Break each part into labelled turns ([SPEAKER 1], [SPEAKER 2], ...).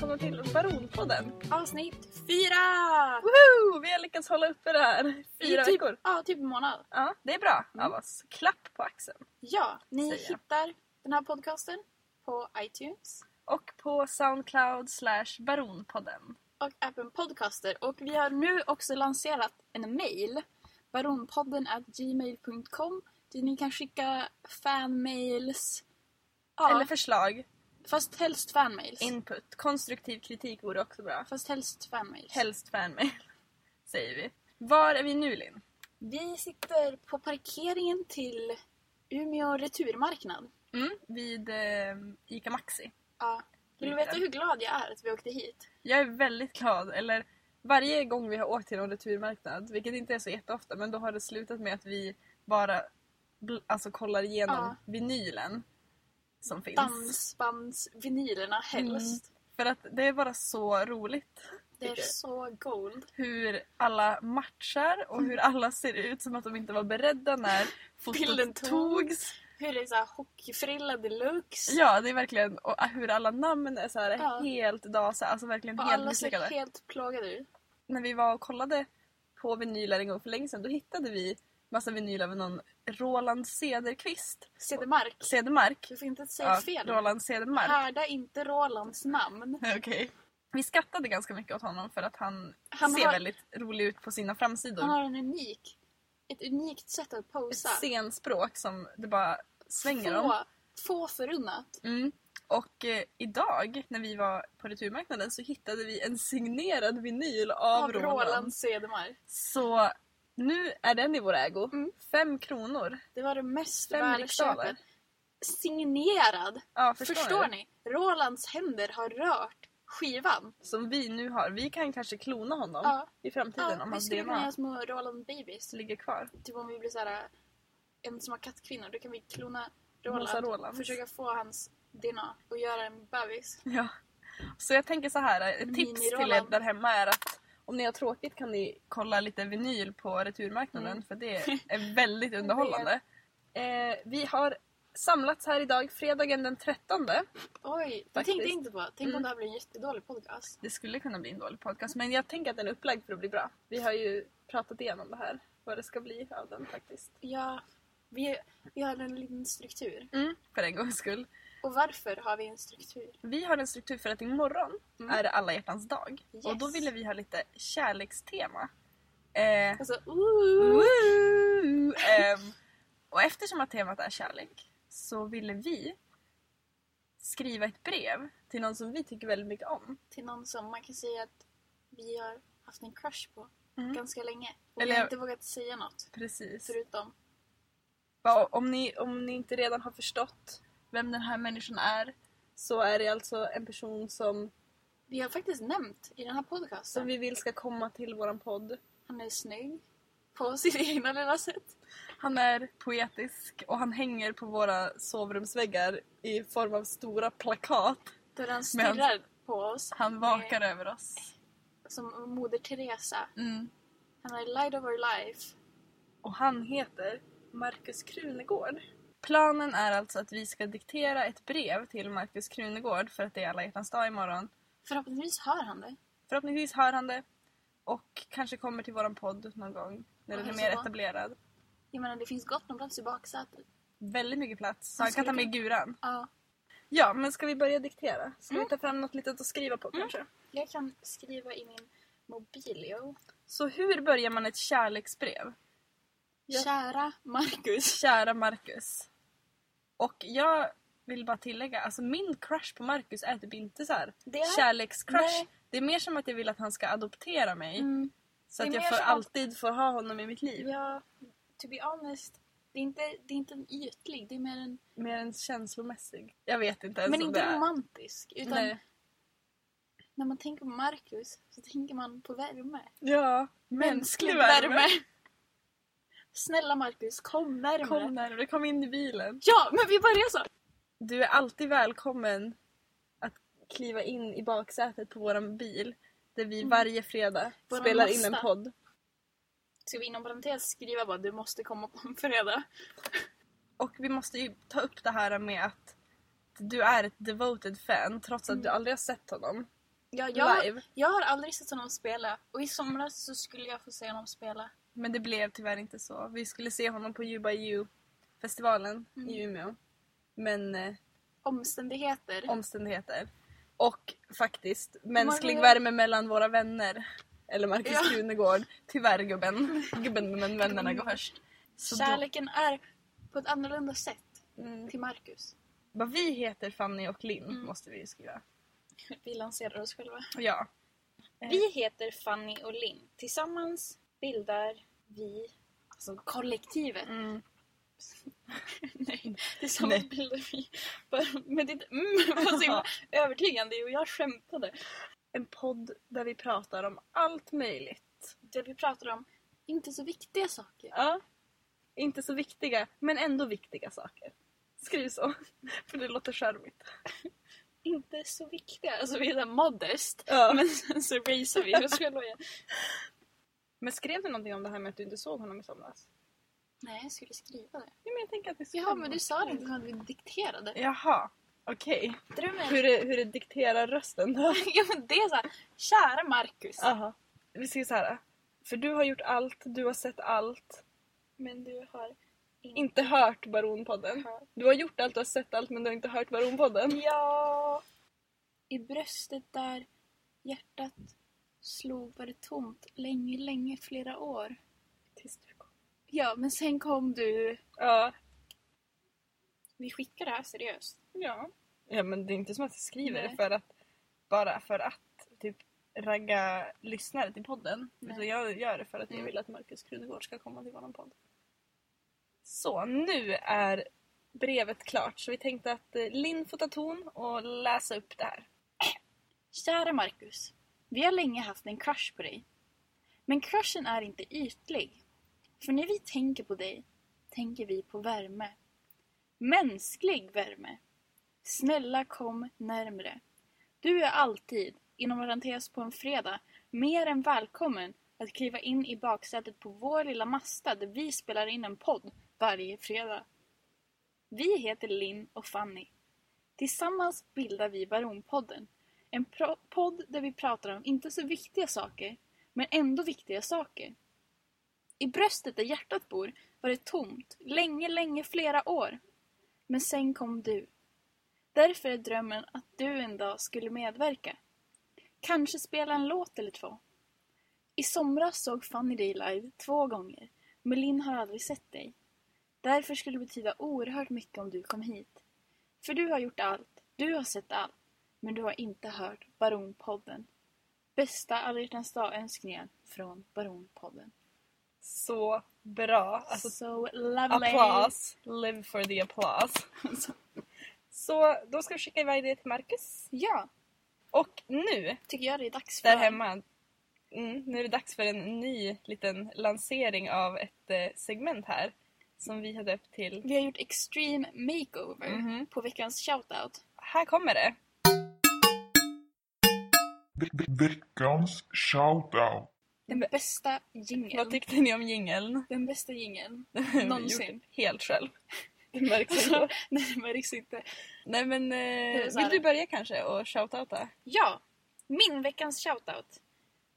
[SPEAKER 1] gånger till Baronpodden.
[SPEAKER 2] Avsnitt fyra!
[SPEAKER 1] Woho! Vi har lyckats hålla uppe det här fyra
[SPEAKER 2] I typ,
[SPEAKER 1] veckor.
[SPEAKER 2] Ja, typ en månad.
[SPEAKER 1] Ja, det är bra
[SPEAKER 2] Mm.
[SPEAKER 1] av oss. Klapp på axeln.
[SPEAKER 2] Ja, ni
[SPEAKER 1] Säger jag.
[SPEAKER 2] hittar den här podcasten på iTunes
[SPEAKER 1] Och på Soundcloud slash Baronpodden.
[SPEAKER 2] och appen Podcaster. Och vi har nu också lanserat en mail. Baronpodden gmail.com där ni kan skicka fanmails. Ja,
[SPEAKER 1] Eller förslag,
[SPEAKER 2] fast helst fanmails.
[SPEAKER 1] input, konstruktiv kritik vore också bra.
[SPEAKER 2] Fast helst fanmails.
[SPEAKER 1] Helst fanmail, säger vi. Var är vi nu Linn?
[SPEAKER 2] Vi sitter på parkeringen till Umeå returmarknad.
[SPEAKER 1] Mm. Vid eh, Ica Maxi.
[SPEAKER 2] Ja. Vill du
[SPEAKER 1] Lite.
[SPEAKER 2] veta hur glad jag är att vi åkte hit?
[SPEAKER 1] Jag är väldigt glad, eller varje gång vi har åkt till någon returmarknad, vilket inte är så jätteofta, men då har det slutat med att vi bara bl- alltså, kollar igenom
[SPEAKER 2] Ja.
[SPEAKER 1] vinylen som finns. Mm.
[SPEAKER 2] dansbandsvinylerna helst.
[SPEAKER 1] För att det är bara så roligt
[SPEAKER 2] Det är
[SPEAKER 1] Tycker jag.
[SPEAKER 2] så gold.
[SPEAKER 1] hur alla matchar och hur alla ser ut som att de inte var beredda när
[SPEAKER 2] Mm. Bilden
[SPEAKER 1] fotot
[SPEAKER 2] togs.
[SPEAKER 1] togs.
[SPEAKER 2] Hur det är såhär hockeyfrilla deluxe.
[SPEAKER 1] Ja, det är verkligen och hur alla namn är så här
[SPEAKER 2] Ja.
[SPEAKER 1] helt dasa, alltså verkligen
[SPEAKER 2] och
[SPEAKER 1] helt
[SPEAKER 2] alla ser
[SPEAKER 1] misslyckade.
[SPEAKER 2] helt plågade ut.
[SPEAKER 1] när vi var och kollade på vinyler en gång för länge sedan då hittade vi massa vinyler av någon Roland Cederqvist.
[SPEAKER 2] Cedermark.
[SPEAKER 1] Cedermark.
[SPEAKER 2] Du får inte säga
[SPEAKER 1] Ja,
[SPEAKER 2] fel.
[SPEAKER 1] Roland Cedermark.
[SPEAKER 2] Härda inte Rolands namn.
[SPEAKER 1] Okej. Vi skattade ganska mycket åt honom för att han,
[SPEAKER 2] Han
[SPEAKER 1] ser
[SPEAKER 2] har-
[SPEAKER 1] väldigt rolig ut på sina framsidor.
[SPEAKER 2] Han har en unik, ett unikt sätt att
[SPEAKER 1] Ett
[SPEAKER 2] posa.
[SPEAKER 1] scenspråk som det bara svänger om.
[SPEAKER 2] Få, få förunnat.
[SPEAKER 1] Mm. Och eh, idag när vi var på returmarknaden så hittade vi en signerad vinyl av,
[SPEAKER 2] Av
[SPEAKER 1] Roland.
[SPEAKER 2] Roland Cedermark.
[SPEAKER 1] Så nu är den i vår ägo.
[SPEAKER 2] Mm.
[SPEAKER 1] Fem kronor.
[SPEAKER 2] Det var det mest
[SPEAKER 1] Fem riksdaler.
[SPEAKER 2] välköpet. Signerad.
[SPEAKER 1] Ja,
[SPEAKER 2] Förstår,
[SPEAKER 1] förstår, ni?
[SPEAKER 2] ni? Rolands händer har rört skivan.
[SPEAKER 1] Som vi nu har. Vi kan kanske klona honom
[SPEAKER 2] Ja.
[SPEAKER 1] i framtiden om
[SPEAKER 2] vi
[SPEAKER 1] hans
[SPEAKER 2] skulle kunna
[SPEAKER 1] DNA
[SPEAKER 2] göra små Roland Babies.
[SPEAKER 1] ligger kvar.
[SPEAKER 2] Typ om vi blir såhär, en som har kattkvinnor, då kan vi klona
[SPEAKER 1] Rosa
[SPEAKER 2] Roland,
[SPEAKER 1] Roland.
[SPEAKER 2] försöka få hans DNA och göra en bebis.
[SPEAKER 1] Ja. Så jag tänker så här, ett tips till er
[SPEAKER 2] Mini-Roland.
[SPEAKER 1] där hemma är att om ni har tråkigt kan ni kolla lite vinyl på returmarknaden
[SPEAKER 2] Mm.
[SPEAKER 1] för det är väldigt underhållande. Eh, vi har samlats här idag fredagen den 13.
[SPEAKER 2] Oj, det
[SPEAKER 1] Faktiskt.
[SPEAKER 2] tänkte jag inte på. Tänk
[SPEAKER 1] Mm.
[SPEAKER 2] om det här blir en jättedålig podcast.
[SPEAKER 1] Det skulle kunna bli en dålig podcast men jag tänker att den är upplagd för att bli bra. Vi har ju pratat igenom det här, vad det ska bli av den faktiskt.
[SPEAKER 2] Ja, vi, vi har en liten struktur.
[SPEAKER 1] Mm. För en gångs skull.
[SPEAKER 2] Och varför har vi en struktur?
[SPEAKER 1] Vi har en struktur för att imorgon
[SPEAKER 2] Mm.
[SPEAKER 1] är det alla hjärtans dag.
[SPEAKER 2] Yes.
[SPEAKER 1] Och då ville vi ha lite kärlekstema. Eh,
[SPEAKER 2] Alltså, ooh,
[SPEAKER 1] woo! Ehm, och eftersom att temat är kärlek så ville vi skriva ett brev till någon som vi tycker väldigt mycket om.
[SPEAKER 2] till någon som man kan säga att vi har haft en crush på
[SPEAKER 1] Mm.
[SPEAKER 2] ganska länge. Och
[SPEAKER 1] Eller-
[SPEAKER 2] vi har inte vågat säga något.
[SPEAKER 1] Precis.
[SPEAKER 2] Förutom,
[SPEAKER 1] Ja, Om ni, om ni inte redan har förstått vem den här människan är så är det alltså en person som,
[SPEAKER 2] vi har faktiskt nämnt i den här
[SPEAKER 1] som
[SPEAKER 2] podcasten.
[SPEAKER 1] vi vill ska komma till våran podd.
[SPEAKER 2] Han är snygg. På sitt egna lilla sätt.
[SPEAKER 1] Han är poetisk och han hänger på våra sovrumsväggar i form av stora plakat.
[SPEAKER 2] Där han
[SPEAKER 1] Men-
[SPEAKER 2] stirrar på oss.
[SPEAKER 1] Han vakar över oss.
[SPEAKER 2] Som Moder Teresa.
[SPEAKER 1] Mm.
[SPEAKER 2] Han är light of our life.
[SPEAKER 1] Och han heter Markus Krunegård. Planen är alltså att vi ska diktera ett brev till Markus Krunegård för att det är alla hjärtans dag imorgon.
[SPEAKER 2] Förhoppningsvis hör han det.
[SPEAKER 1] Förhoppningsvis hör han det och kanske kommer till våran podd någon gång när den
[SPEAKER 2] Och
[SPEAKER 1] är
[SPEAKER 2] hälsar
[SPEAKER 1] mer
[SPEAKER 2] på.
[SPEAKER 1] etablerad.
[SPEAKER 2] Jag menar det finns gott om plats i baksätet.
[SPEAKER 1] Väldigt mycket plats. Så
[SPEAKER 2] Han
[SPEAKER 1] han kan ta
[SPEAKER 2] skulle
[SPEAKER 1] med guran.
[SPEAKER 2] Ja.
[SPEAKER 1] Ja, men ska vi börja diktera? Ska
[SPEAKER 2] Mm.
[SPEAKER 1] vi ta fram något litet att skriva på kanske?
[SPEAKER 2] Jag kan skriva i min mobilio.
[SPEAKER 1] Så hur börjar man ett kärleksbrev? Ja.
[SPEAKER 2] Kära Marcus.
[SPEAKER 1] Kära Marcus. Och jag vill bara tillägga, alltså min crush på Marcus är typ inte så här
[SPEAKER 2] Det är-
[SPEAKER 1] kärlekscrush.
[SPEAKER 2] Nej.
[SPEAKER 1] Det är mer som att jag vill att han ska adoptera mig.
[SPEAKER 2] Mm.
[SPEAKER 1] Så
[SPEAKER 2] det
[SPEAKER 1] att
[SPEAKER 2] är
[SPEAKER 1] jag
[SPEAKER 2] mer
[SPEAKER 1] får
[SPEAKER 2] som att-
[SPEAKER 1] alltid får ha honom i mitt liv.
[SPEAKER 2] Ja, to be honest. Det är inte, det är inte en ytlig, det är mer en...
[SPEAKER 1] Mer än känslomässig. Jag vet inte ens
[SPEAKER 2] Men
[SPEAKER 1] om
[SPEAKER 2] inte
[SPEAKER 1] det är.
[SPEAKER 2] romantisk. Utan
[SPEAKER 1] Nej.
[SPEAKER 2] när man tänker på Marcus så tänker man på värme.
[SPEAKER 1] Ja, mänsklig värme.
[SPEAKER 2] Snälla Marcus, kom närmare.
[SPEAKER 1] Kom närmare, kom in i bilen.
[SPEAKER 2] Ja, men vi börjar så!
[SPEAKER 1] Du är alltid välkommen att kliva in i baksätet på våran bil. Där vi
[SPEAKER 2] Mm.
[SPEAKER 1] varje fredag
[SPEAKER 2] Våran
[SPEAKER 1] spelar in en
[SPEAKER 2] Mazda.
[SPEAKER 1] podd.
[SPEAKER 2] Ska vi inom parentes skriva bara du måste komma på en fredag?
[SPEAKER 1] Och vi måste ju ta upp det här med att du är ett devoted fan trots att du
[SPEAKER 2] Mm.
[SPEAKER 1] aldrig har sett honom.
[SPEAKER 2] Ja, jag,
[SPEAKER 1] live.
[SPEAKER 2] jag har aldrig sett honom spela och i somras så skulle jag få se honom spela.
[SPEAKER 1] Men det blev tyvärr inte så. Vi skulle se honom på You by You festivalen
[SPEAKER 2] Mm.
[SPEAKER 1] i Umeå. Men eh,
[SPEAKER 2] Omständigheter.
[SPEAKER 1] omständigheter. Och faktiskt, mänsklig värme mellan våra vänner. Eller Marcus
[SPEAKER 2] Ja.
[SPEAKER 1] Krunegård. Tyvärr gubben. Gubben men vännerna går först. Så då-
[SPEAKER 2] Kärleken är på ett annorlunda sätt
[SPEAKER 1] Mm.
[SPEAKER 2] till Marcus.
[SPEAKER 1] Vad vi heter Fanny och Linn
[SPEAKER 2] Mm.
[SPEAKER 1] måste vi ju skriva.
[SPEAKER 2] Vi lanserar oss själva.
[SPEAKER 1] Ja.
[SPEAKER 2] Vi heter Fanny och Linn. Tillsammans bildar vi alltså kollektivet.
[SPEAKER 1] Mm.
[SPEAKER 2] Mm. Nej, tillsammans
[SPEAKER 1] Nej.
[SPEAKER 2] bildar vi... Bara, men det mm, var så himla övertygande och jag skämtade.
[SPEAKER 1] En podd där vi pratar om allt möjligt.
[SPEAKER 2] Det vi pratar om, inte så viktiga saker.
[SPEAKER 1] Ja. Inte så viktiga, men ändå viktiga saker. Skriv så, för det låter charmigt.
[SPEAKER 2] Inte så viktiga. Alltså vi är där modest.
[SPEAKER 1] Ja.
[SPEAKER 2] Men sen så racear vi oss själva igen.
[SPEAKER 1] Men skrev du någonting om det här med att du inte såg honom i somras?
[SPEAKER 2] Nej, jag skulle skriva det.
[SPEAKER 1] Ja, men jag tänker att vi ska...
[SPEAKER 2] Jaha, men du sa det inte att vi dikterade.
[SPEAKER 1] Jaha, okej.
[SPEAKER 2] Drömmen.
[SPEAKER 1] Hur, är- hur är dikterar rösten då?
[SPEAKER 2] Ja, men det är såhär, kära Marcus.
[SPEAKER 1] Aha. Vi ska så här. För du har gjort allt, du har sett allt.
[SPEAKER 2] Men du har inte
[SPEAKER 1] Inte hört Baronpodden.
[SPEAKER 2] hört.
[SPEAKER 1] Du har gjort allt, du har sett allt men du har inte hört Baronpodden.
[SPEAKER 2] Ja! I bröstet där hjärtat slog var det tomt länge, länge, flera år.
[SPEAKER 1] Tills du kom.
[SPEAKER 2] Ja, men sen kom du.
[SPEAKER 1] Ja.
[SPEAKER 2] Vi skickar det här seriöst.
[SPEAKER 1] Ja. Ja men det är inte som att jag skriver
[SPEAKER 2] Nej.
[SPEAKER 1] det för att bara för att typ ragga lyssnare till podden.
[SPEAKER 2] Nej.
[SPEAKER 1] Utan jag gör det för att jag
[SPEAKER 2] Mm.
[SPEAKER 1] vill att Markus Krunegård ska komma till våran podd. Så nu är brevet klart så vi tänkte att eh, Linn får ta ton och läsa upp det här.
[SPEAKER 2] Kära Marcus. Vi har länge haft en crush på dig. Men crushen är inte ytlig. För när vi tänker på dig tänker vi på värme. Mänsklig värme. Snälla kom närmre. Du är alltid, inom parentes på en fredag, mer än välkommen att kliva in i baksätet på vår lilla Masta där vi spelar in en podd varje fredag. Vi heter Linn och Fanny. Tillsammans bildar vi Baronpodden. En pro- podd där vi pratar om inte så viktiga saker, men ändå viktiga saker. I bröstet där hjärtat bor var det tomt, länge, länge, flera år. Men sen kom du. Därför är drömmen att du en dag skulle medverka. Kanske spela en låt eller två. I somras såg Fanny dig live två gånger, men Linn har aldrig sett dig. Därför skulle det betyda oerhört mycket om du kom hit. För du har gjort allt, du har sett allt, men du har inte hört Baronpodden. Bästa alla hjärtans dag-önskningar från Baronpodden.
[SPEAKER 1] Så bra! Alltså
[SPEAKER 2] so lovely!
[SPEAKER 1] Applause. Live for the applause. Så då ska vi skicka iväg det till Marcus.
[SPEAKER 2] Ja,
[SPEAKER 1] Och nu,
[SPEAKER 2] tycker jag det är dags för.
[SPEAKER 1] där hemma, mm, nu är det dags för en ny liten lansering av ett eh, segment här. Som vi har döpt till
[SPEAKER 2] Vi har gjort extreme makeover
[SPEAKER 1] Mhm.
[SPEAKER 2] på veckans shoutout.
[SPEAKER 1] Här kommer det!
[SPEAKER 3] Ve- ve- Veckans shoutout.
[SPEAKER 2] Den
[SPEAKER 1] Men-
[SPEAKER 2] bästa jingeln.
[SPEAKER 1] Vad tyckte ni om jingeln?
[SPEAKER 2] Den bästa jingeln.
[SPEAKER 1] Vi har
[SPEAKER 2] Någonsin.
[SPEAKER 1] gjort det Helt själv. Det märks
[SPEAKER 2] Alltså,
[SPEAKER 1] ändå.
[SPEAKER 2] nej, det märks inte.
[SPEAKER 1] Nej men,
[SPEAKER 2] Det är
[SPEAKER 1] eh,
[SPEAKER 2] så här-
[SPEAKER 1] vill du börja kanske och shoutouta?
[SPEAKER 2] Ja, min veckans shoutout.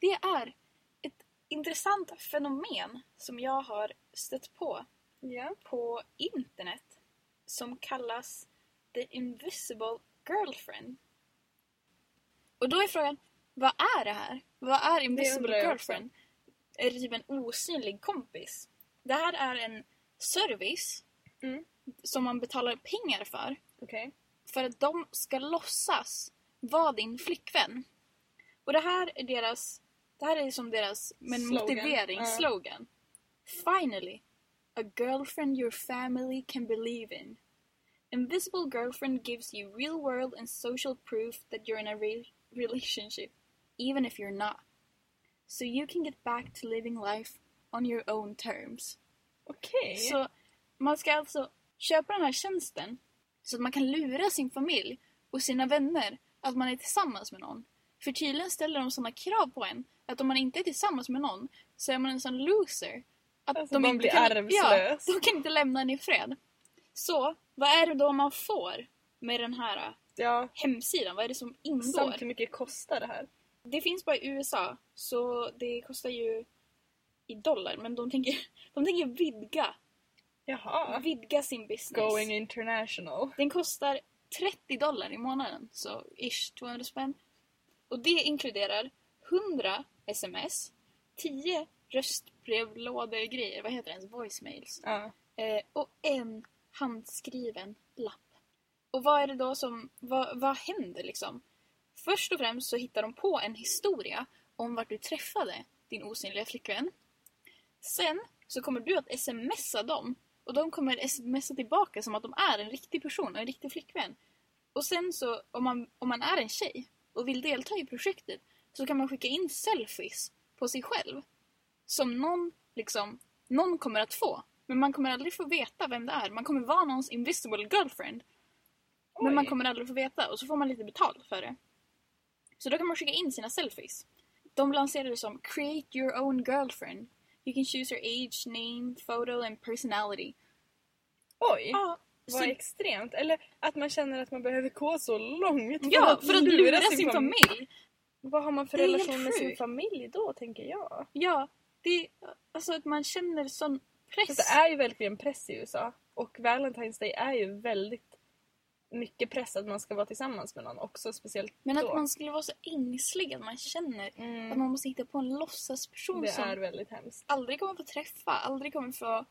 [SPEAKER 2] Det är ett intressant fenomen som jag har stött på
[SPEAKER 1] Ja.
[SPEAKER 2] på internet som kallas The Invisible Girlfriend. Och då är frågan, vad är det här? Vad är
[SPEAKER 1] undrar
[SPEAKER 2] Invisible
[SPEAKER 1] jag
[SPEAKER 2] Girlfriend? Är det typ en osynlig kompis? Det här är en service
[SPEAKER 1] Mm.
[SPEAKER 2] som man betalar pengar för
[SPEAKER 1] Okej.
[SPEAKER 2] för att de ska låtsas vara din flickvän. Och det här är deras, det här är som deras men
[SPEAKER 1] Slogan.
[SPEAKER 2] motivering,
[SPEAKER 1] Ja.
[SPEAKER 2] slogan. Finally, a girlfriend your family can believe in. Invisible girlfriend gives you real world and social proof that you're in a re- relationship, even if you're not. So you can get back to living life on your own terms.
[SPEAKER 1] Okej.
[SPEAKER 2] Så man ska alltså köpa den här tjänsten så att man kan lura sin familj och sina vänner att man är tillsammans med någon. För tydligen ställer de sådana krav på en att om man inte är tillsammans med någon så är man en sån loser. Att
[SPEAKER 1] Alltså, man blir arvslös.
[SPEAKER 2] Ja, de kan inte lämna en i fred. Så vad är det då man får med den här äh,
[SPEAKER 1] Ja,
[SPEAKER 2] Hemsidan, vad är det som ingår?
[SPEAKER 1] samt hur mycket kostar det här?
[SPEAKER 2] Det finns bara i USA, så det kostar ju i dollar. Men de tänker, de tänker vidga,
[SPEAKER 1] Jaha.
[SPEAKER 2] vidga sin business.
[SPEAKER 1] Going international.
[SPEAKER 2] Den kostar 30 dollar i månaden, så ish 200 spänn. Och det inkluderar 100 sms, 10 röstbrevlådegrejer, vad heter det ens, voicemails.
[SPEAKER 1] Ja.
[SPEAKER 2] Eh, och en handskriven lapp. Och vad är det då som, vad, vad händer liksom? Först och främst så hittar de på en historia om vart du träffade din osynliga flickvän. Sen så kommer du att smsa dem och de kommer smsa tillbaka som att de är en riktig person och en riktig flickvän. Och sen så, om man, om man är en tjej och vill delta i projektet så kan man skicka in selfies på sig själv som någon, liksom, någon kommer att få. Men man kommer aldrig få veta vem det är. Man kommer vara någons invisible girlfriend. Men man
[SPEAKER 1] Oj.
[SPEAKER 2] kommer aldrig få veta och så får man lite betalt för det. Så då kan man skicka in sina selfies. De lanserade det som “Create your own girlfriend”. You can choose her age, name, photo and personality.
[SPEAKER 1] Oj!
[SPEAKER 2] Ja,
[SPEAKER 1] Vad
[SPEAKER 2] så,
[SPEAKER 1] extremt. Eller att man känner att man behöver gå så långt
[SPEAKER 2] ja för att lura sin familj.
[SPEAKER 1] Vad har man för
[SPEAKER 2] Det är helt
[SPEAKER 1] relation med sin
[SPEAKER 2] sjukt.
[SPEAKER 1] familj då, tänker jag?
[SPEAKER 2] Ja, det alltså att man känner sån
[SPEAKER 1] För
[SPEAKER 2] press.
[SPEAKER 1] det är ju verkligen press i USA. Och Valentine's Day är ju väldigt mycket press att man ska vara tillsammans med någon också, speciellt
[SPEAKER 2] Men
[SPEAKER 1] då.
[SPEAKER 2] att man skulle vara så ängslig att man känner
[SPEAKER 1] Mm.
[SPEAKER 2] Att man måste hitta på en låtsasperson
[SPEAKER 1] Det
[SPEAKER 2] som
[SPEAKER 1] är väldigt hemskt.
[SPEAKER 2] aldrig kommer få träffa, aldrig kommer få...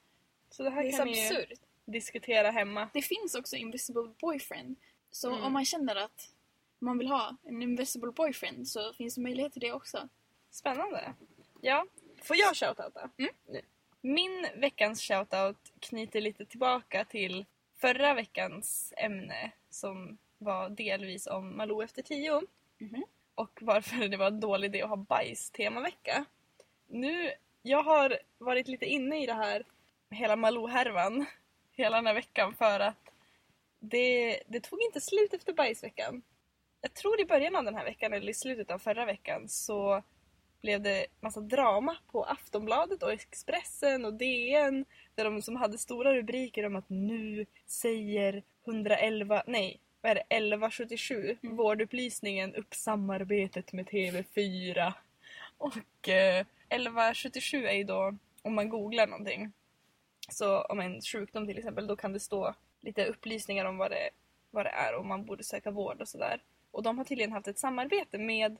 [SPEAKER 1] Så det här
[SPEAKER 2] Det är så
[SPEAKER 1] kan vi ju
[SPEAKER 2] absurt.
[SPEAKER 1] diskutera hemma.
[SPEAKER 2] Det finns också invisible boyfriend. Så
[SPEAKER 1] Mm.
[SPEAKER 2] om man känner att man vill ha en invisible boyfriend så finns det möjlighet till det också.
[SPEAKER 1] Spännande. Ja. Får jag shoutouta?
[SPEAKER 2] Mm.
[SPEAKER 1] Nu. Min veckans shoutout knyter lite tillbaka till förra veckans ämne som var delvis om Malou efter tio.
[SPEAKER 2] Mhm.
[SPEAKER 1] Och varför det var en dålig idé att ha bajs-temavecka. Nu, jag har varit lite inne i det här hela Malou-härvan hela den här veckan för att det, det tog inte slut efter bajsveckan. Jag tror i början av den här veckan eller i slutet av förra veckan så blev det massa drama på Aftonbladet och Expressen och DN där de som hade stora rubriker om att nu säger 111, nej vad är det, 1177 vårdupplysningen upp samarbetet med TV4. Och eh, 1177 är ju då om man googlar någonting. Så om en sjukdom till exempel då kan det stå lite upplysningar om vad det, vad det är och om man borde söka vård och sådär. Och de har tydligen haft ett samarbete med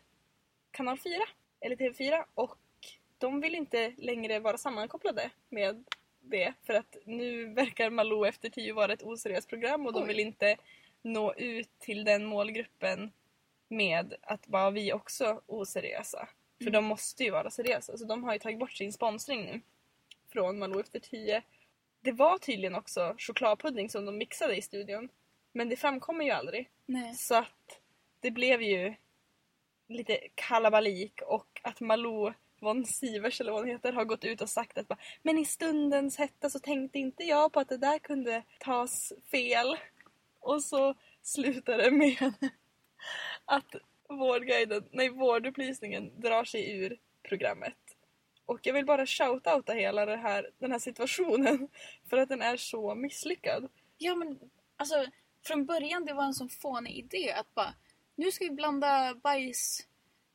[SPEAKER 1] Kanal 4 eller TV4 och de vill inte längre vara sammankopplade med det för att nu verkar Malou efter tio vara ett oseriöst program och de
[SPEAKER 2] Oj.
[SPEAKER 1] vill inte nå ut till den målgruppen med att bara vi är också oseriösa. För de måste ju vara seriösa så de har ju tagit bort sin sponsring nu från Malou efter tio. Det var tydligen också chokladpudding som de mixade i studion men det framkommer ju aldrig.
[SPEAKER 2] Nej.
[SPEAKER 1] Så att det blev ju lite kalabalik och att Malou von Sivers eller vad hon heter har gått ut och sagt att bara, men i stundens hetta så tänkte inte jag på att det där kunde tas fel. Och så slutar det med att vårdguiden, nej vårdupplysningen drar sig ur programmet. Och jag vill bara shoutouta hela det här, den här situationen för att den är så misslyckad.
[SPEAKER 2] Ja men alltså från början det var en sån fånig idé att bara nu ska vi blanda bajs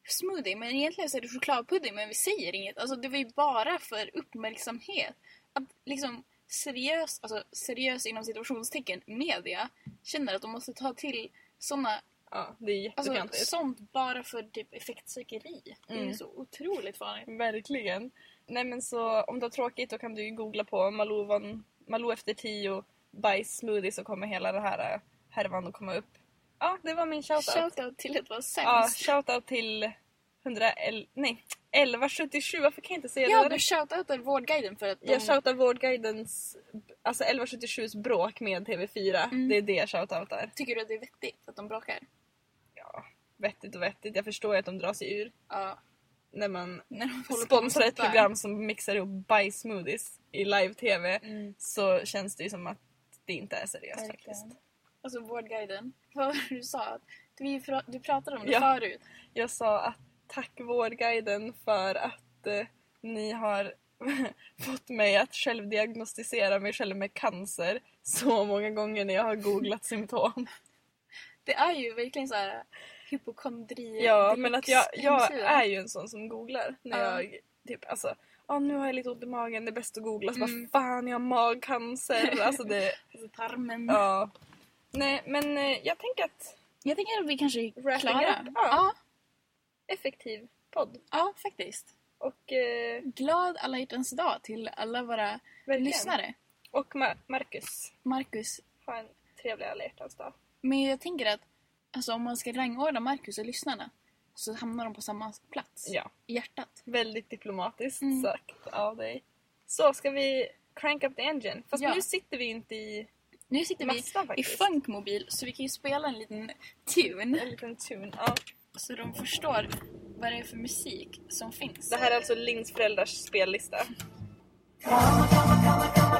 [SPEAKER 2] smoothie men egentligen så är det chokladpudding men vi säger inget. Alltså det var ju bara för uppmärksamhet. Att liksom seriös, alltså seriös inom situationstecken media känner att de måste ta till såna,
[SPEAKER 1] Ja, det är
[SPEAKER 2] alltså
[SPEAKER 1] jättekantigt.
[SPEAKER 2] sånt bara för typ effektsökeri. Det är
[SPEAKER 1] Mm.
[SPEAKER 2] ju så otroligt farligt.
[SPEAKER 1] Verkligen. Nej men så om du har tråkigt då kan du ju googla på Malou, van, Malou efter tio bajs smoothie så kommer hela det här eh, härvan att komma upp. Ja, det var min shoutout.
[SPEAKER 2] Shoutout till att vara
[SPEAKER 1] ja,
[SPEAKER 2] sämst.
[SPEAKER 1] shoutout till 111, nej 1177, varför kan jag inte säga
[SPEAKER 2] Ja,
[SPEAKER 1] det?
[SPEAKER 2] du shoutoutar Vårdguiden för att de...
[SPEAKER 1] Jag shoutar Vårdguidens, alltså 1177s bråk med TV4.
[SPEAKER 2] Mm.
[SPEAKER 1] Det är det jag shoutoutar.
[SPEAKER 2] Tycker du att det är vettigt att de bråkar?
[SPEAKER 1] Vettigt och vettigt, jag förstår ju att de drar sig ur
[SPEAKER 2] Ja.
[SPEAKER 1] när man
[SPEAKER 2] När de håller på med
[SPEAKER 1] sponsrar ett
[SPEAKER 2] sånt där.
[SPEAKER 1] program som mixar ihop bajs-smoothies i live-tv
[SPEAKER 2] Mm.
[SPEAKER 1] så känns det ju som att det inte är seriöst
[SPEAKER 2] Verkligen.
[SPEAKER 1] faktiskt.
[SPEAKER 2] Alltså Vårdguiden. Vad var det du sa? Att vi, fra- du pratade om det
[SPEAKER 1] Ja.
[SPEAKER 2] förut.
[SPEAKER 1] Jag sa att tack Vårdguiden för att eh, ni har fått mig att självdiagnostisera mig själv med cancer så många gånger när jag har googlat symptom.
[SPEAKER 2] Det är ju verkligen så här hypokondri
[SPEAKER 1] Ja, men att jag, jag
[SPEAKER 2] hemsida.
[SPEAKER 1] är ju en sån som googlar när
[SPEAKER 2] Ja.
[SPEAKER 1] jag typ alltså Ja nu har jag lite ont i magen, det är bäst att googla så
[SPEAKER 2] Mm.
[SPEAKER 1] bara fan jag har magcancer. Alltså det,
[SPEAKER 2] Alltså tarmen.
[SPEAKER 1] ja. Nej men eh, jag tänker att
[SPEAKER 2] Jag tänker att vi kanske är
[SPEAKER 1] Wrapping
[SPEAKER 2] klara.
[SPEAKER 1] up, ja.
[SPEAKER 2] Ja.
[SPEAKER 1] effektiv podd
[SPEAKER 2] ja, faktiskt.
[SPEAKER 1] och eh,
[SPEAKER 2] Glad alla hjärtans dag till alla våra
[SPEAKER 1] verkligen.
[SPEAKER 2] lyssnare.
[SPEAKER 1] Och Ma- Marcus,
[SPEAKER 2] Marcus,
[SPEAKER 1] ha en trevlig alla hjärtans dag.
[SPEAKER 2] men jag tänker att alltså, om man ska rangordna Marcus och lyssnarna så hamnar de på samma plats
[SPEAKER 1] Ja,
[SPEAKER 2] i hjärtat.
[SPEAKER 1] väldigt diplomatiskt
[SPEAKER 2] Mm.
[SPEAKER 1] sagt av dig. Så ska vi crank up the engine. Fast
[SPEAKER 2] Ja.
[SPEAKER 1] nu sitter vi inte i
[SPEAKER 2] Nu sitter vi
[SPEAKER 1] mastan
[SPEAKER 2] i
[SPEAKER 1] faktiskt.
[SPEAKER 2] funkmobil så vi kan ju spela en liten tune
[SPEAKER 1] En liten tune. Ja.
[SPEAKER 2] så de förstår vad det är för musik som finns.
[SPEAKER 1] Det här är alltså Lins föräldrars spellista.
[SPEAKER 4] Come on, come on, come on, come